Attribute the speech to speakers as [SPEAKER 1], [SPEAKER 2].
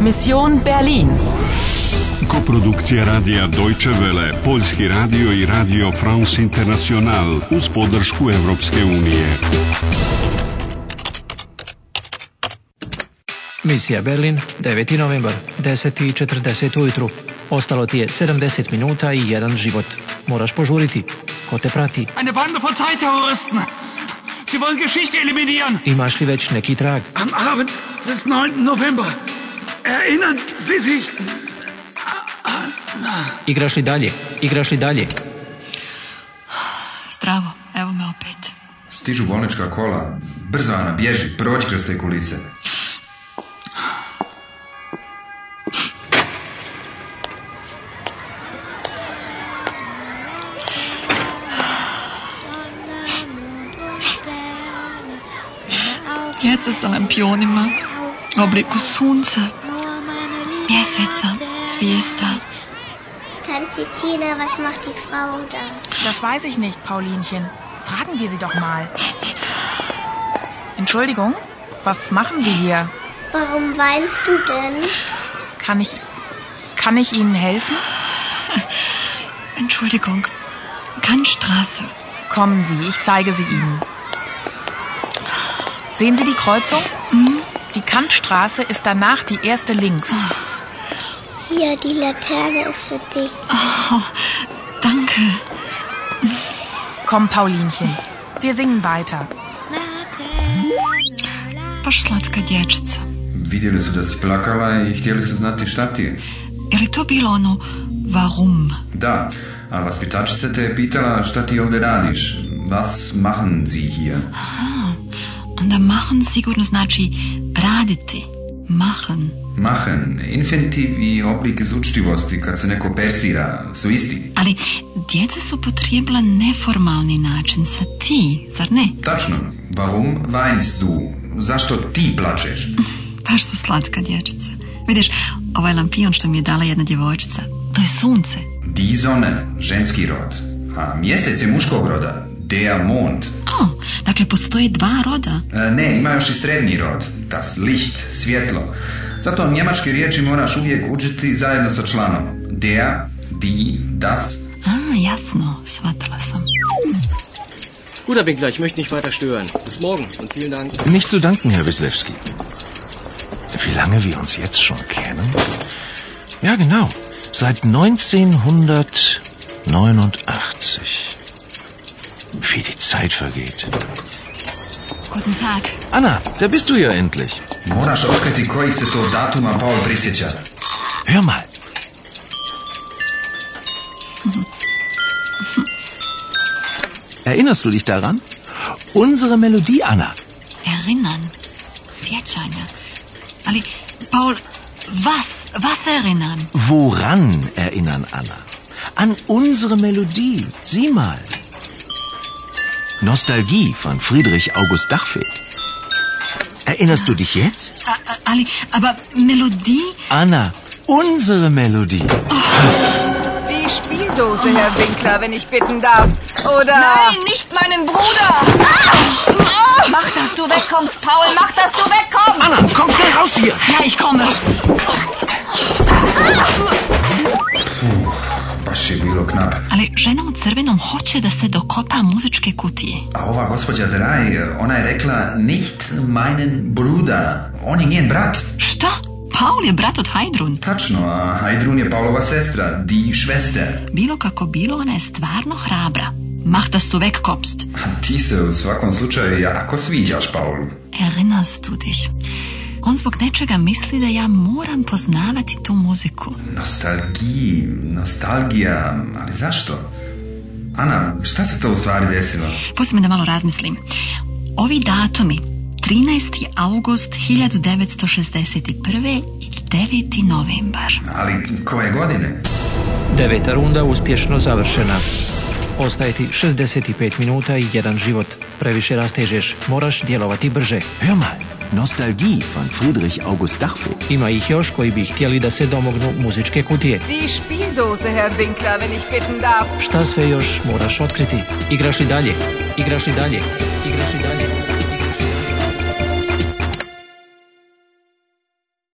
[SPEAKER 1] Mission Berlin.
[SPEAKER 2] Koprodukcija radija Deutsche Welle, Poljski radio i radio France International uz podršku Europske unije.
[SPEAKER 3] Misija Berlin, 9. novembar, 10.40 ujutru. Ostalo ti je 70 minuta i jedan život. Moraš požuriti. Ko te prati?
[SPEAKER 4] Eine Bande von Zeitterroristen. Sie wollen Geschichte eliminieren.
[SPEAKER 3] Imaš li već neki trag?
[SPEAKER 4] Am Abend des 9. November. Erinnern Sie sich?
[SPEAKER 3] Igraš li dalje? Igraš li dalje?
[SPEAKER 5] Zdravo, evo me opet.
[SPEAKER 6] Stižu bolnička kola. Brzo, Ana, bježi, prođi kroz te kulise.
[SPEAKER 5] Djeca sa lampionima u obliku sunca, mjeseca, zvijezda.
[SPEAKER 7] Tante Tina, was macht die Frau da?
[SPEAKER 8] Das weiß ich nicht, Paulinchen. Fragen wir sie doch mal. Entschuldigung, was machen Sie hier?
[SPEAKER 7] Warum weinst du denn?
[SPEAKER 8] Kann ich. Kann ich Ihnen helfen?
[SPEAKER 5] Entschuldigung, Kantstraße.
[SPEAKER 8] Kommen Sie, ich zeige sie Ihnen. Sehen Sie die Kreuzung?
[SPEAKER 9] Mhm.
[SPEAKER 8] Die Kantstraße ist danach die erste links.
[SPEAKER 9] Ah.
[SPEAKER 7] Hier, die Laterne ist für dich.
[SPEAKER 5] Oh, danke.
[SPEAKER 8] Komm, Paulinchen, wir singen weiter.
[SPEAKER 5] Baš slatka dječica.
[SPEAKER 6] Vidjeli su da si plakala i htjeli su znati šta ti je.
[SPEAKER 5] Je li to bilo ono varum?
[SPEAKER 6] Da, a vaspitačica te je pitala šta ti ovdje radiš. Was machen Sie hier?
[SPEAKER 5] Onda machen sigurno znači raditi. Machen.
[SPEAKER 6] Machen, infinitiv i oblik izučljivosti kad se neko persira, su isti.
[SPEAKER 5] Ali djeca su potrijebila neformalni način sa ti, zar ne?
[SPEAKER 6] Tačno, warum weinst du? Zašto ti plačeš?
[SPEAKER 5] Baš su slatka dječica. Vidiš, ovaj lampion što mi je dala jedna djevojčica, to je sunce.
[SPEAKER 6] Die Sonne, ženski rod. A mjesec je muškog roda, der Mond.
[SPEAKER 5] O, dakle postoje dva roda.
[SPEAKER 6] E, Ne, ima još i srednji rod, das Licht, svjetlo. Zato njemačke riječi moraš uvijek učiti zajedno sa članom. Der, die, das.
[SPEAKER 5] A, jasno, shvatila sam.
[SPEAKER 10] Guter Winkler, ich möchte nicht weiter stören. Bis morgen und vielen Dank.
[SPEAKER 11] Nicht zu danken, Herr Wislewski. Wie lange wir uns jetzt schon kennen? Ja, genau. Seit 1989. Wie die Zeit vergeht.
[SPEAKER 5] Guten Tag.
[SPEAKER 11] Anna, da bist du ja endlich.
[SPEAKER 6] Moraš otkriti kojih se to datuma Paul prisjeća.
[SPEAKER 11] Hör mal. Erinnerst du dich daran? Unsere Melodie, Anna.
[SPEAKER 5] Erinnern. Sjećanja. Ali, Paul, was, was erinnern?
[SPEAKER 11] Woran erinnern, Anna? An unsere Melodie. Sieh mal. Nostalgie von Friedrich August Dachfeld. Erinnerst du dich jetzt?
[SPEAKER 5] A, a, ali, aber Melodie?
[SPEAKER 11] Anna, unsere Melodie.
[SPEAKER 9] Die Spieldose, Herr Winkler, wenn ich bitten darf. Oder. Nein, nicht meinen Bruder! Ah. Mach, dass du wegkommst, Paul, mach, dass du wegkommst!
[SPEAKER 11] Anna, komm schnell raus hier.
[SPEAKER 5] Ja, ich komme.
[SPEAKER 6] Baš je bilo knap.
[SPEAKER 5] Ali žena u crvenom hoće da se dokopa muzičke kutije.
[SPEAKER 6] A ova gospođa Draj, ona je rekla nicht meinen bruda. On je njen brat.
[SPEAKER 5] Šta? Paul je brat od Hajdrun.
[SPEAKER 6] Tačno, a Hajdrun je Paulova sestra, di švester.
[SPEAKER 5] Bilo kako bilo, ona je stvarno hrabra. Mahta su vek kopst.
[SPEAKER 6] A ti se u svakom slučaju jako sviđaš, Paul.
[SPEAKER 5] Erinnerst du dich? On zbog nečega misli da ja moram poznavati tu muziku.
[SPEAKER 6] Nostalgiji, nostalgija, ali zašto? Ana, šta se to u stvari desilo?
[SPEAKER 5] Pusti me da malo razmislim. Ovi datumi, 13. august 1961. i 9. novembar.
[SPEAKER 6] Ali koje godine?
[SPEAKER 3] Deveta runda uspješno završena. Ostaje ti 65 minuta i jedan život. Previše rastežeš, moraš djelovati brže.
[SPEAKER 11] Hör mal. Nostalgie von Friedrich August Dachfeld.
[SPEAKER 3] Ima ih još koji bi htjeli da se domognu muzičke kutije.
[SPEAKER 9] Die Spieldose, Herr Winkler, wenn ich bitten darf.
[SPEAKER 3] Šta sve još moraš otkriti? Igraš li dalje? Igraš li dalje? Igraš li dalje?